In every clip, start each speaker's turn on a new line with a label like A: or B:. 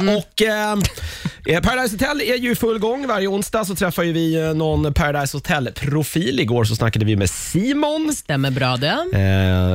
A: Och eh, Paradise Hotel är ju i full gång. Varje onsdag så träffar ju vi eh, någon Paradise Hotel-profil. Igår så snackade vi med Simon.
B: Stämmer bra det.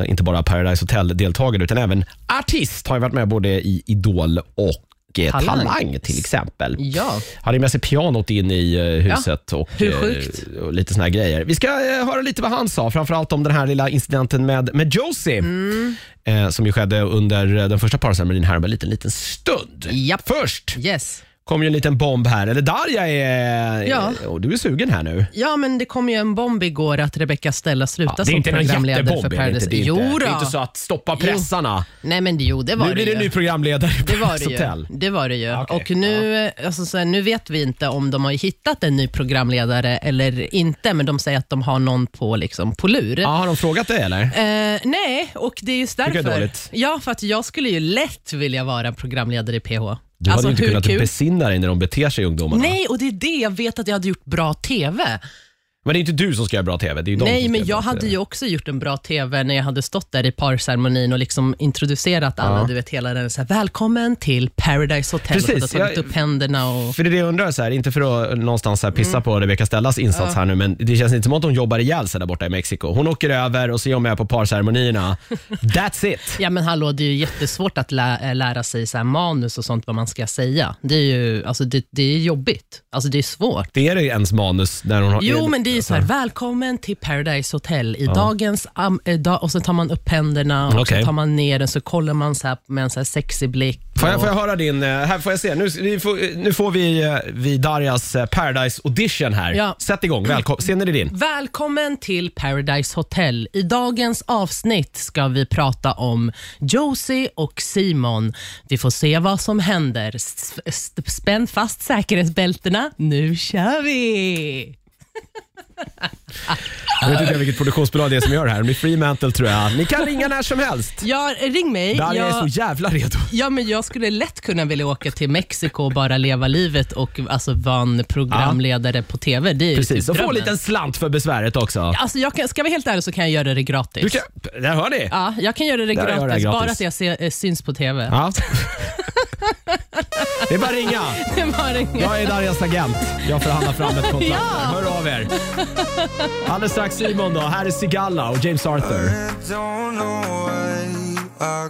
A: Eh, inte bara Paradise Hotel-deltagare utan även artist har ju varit med både i Idol och eh,
B: Talang.
A: Talang. till exempel.
B: Ja.
A: Hade med sig pianot in i eh, huset och,
B: hur
A: eh,
B: sjukt?
A: och lite såna här grejer. Vi ska eh, höra lite vad han sa, framförallt om den här lilla incidenten med, med Josie.
B: Mm.
A: Eh, som ju skedde under eh, den första parceremonin här om en liten, liten stund.
B: Japp.
A: Först
B: Yes.
A: kom ju en liten bomb här. Eller Darja är... eh,
B: Ja.
A: Och du är sugen här nu.
B: Ja, men det kom ju en bomb igår att Rebecca Stella slutar
A: det är
B: som
A: inte någon
B: programledare
A: jättebomb.
B: för
A: är det, inte,
B: Paradise.
A: det, är inte,
B: Jo
A: det är
B: då.
A: inte så att stoppa pressarna.
B: Nej, men jo, det var
A: Nu blir
B: det
A: det
B: ju.
A: en ny programledare i
B: Det var
A: Paradise
B: det ju.
A: Hotel.
B: Det var det ju.
A: Okej,
B: Och nu, alltså, så här, nu vet vi inte om de har hittat en ny programledare eller inte, men de säger att de har någon på, liksom, på lur.
A: Ja, har de frågat det eller?
B: Eh, nej, och det är just
A: jag är
B: därför.
A: dåligt.
B: ja, för att jag skulle ju lätt vilja vara programledare i PH.
A: Du hade ju inte
B: hur
A: kunnat
B: kul?
A: besinna dig när de beter sig ungdomarna.
B: Nej, och det är det jag vet att jag hade gjort bra TV.
A: Men det är inte du som ska göra bra TV. Det är ju de som
B: Nej,
A: ska
B: men
A: göra
B: jag
A: bra
B: hade
A: TV.
B: ju också gjort en bra TV när jag hade stått där i parceremonin och liksom introducerat alla, du vet hela den så här, välkommen till Paradise Hotel
A: Precis,
B: och så hade tagit
A: jag-
B: upp händerna och...
A: För det är det jag undrar, så här, inte för att någonstans så här
B: Mm.
A: pissa på Rebecca Stellas insats här nu, men det känns inte som att hon jobbar ihjäl sig där borta i Mexiko. Hon åker över och så är hon med på parceremonierna. That's it!
B: Ja men hallå, det är ju jättesvårt att lä- äh, lära sig så här manus och sånt, vad man ska säga. Det är ju alltså, det, det är jobbigt. Alltså det är svårt.
A: Det är det ens manus när hon har...
B: Jo, men det är ju så här, välkommen till Paradise Hotel. I dagens, am, eh, dag, och så tar man upp händerna och
A: Okej.
B: så tar man ner den, så kollar man så här med en så här sexig blick.
A: Får jag,
B: och-
A: får jag höra din, eh, här får jag se, nu, vi får, nu får vi, eh, vi Darjas eh, Paradise audition här.
B: Ja.
A: Sätt igång, välkommen. Scenen är din.
B: Välkommen till Paradise Hotel. I dagens avsnitt ska vi prata om Josie och Simon. Vi får se vad som händer. S- s- Spänn fast säkerhetsbältena. Nu kör vi!
A: Jag vet inte vilket produktionsbolag det är som gör det här. De är Fremantle tror jag. Ni kan ringa när som helst.
B: Ja, ring mig.
A: Darja är så
B: Jag,
A: jävla redo.
B: ja, men jag skulle lätt kunna vilja åka till Mexiko och bara leva livet och alltså, vara en programledare på TV. Det är ju
A: Precis,
B: typ
A: och få en
B: drömmen.
A: liten slant för besväret också.
B: Alltså, jag kan, ska jag vara helt ärlig så kan jag göra det gratis.
A: Du kan, där hör ni.
B: Ja, jag kan göra det
A: Där gör jag
B: gratis,
A: det
B: bara
A: gratis.
B: att jag ser, eh, syns på TV.
A: Ja. Det är bara att ringa.
B: Det var inget.
A: Jag är Darjas agent. Jag förhandlar fram ett kontrakt.
B: Ja.
A: Hör av er. Alldeles strax Simon då. Här är Sigalla och James Arthur.
C: I don't know why I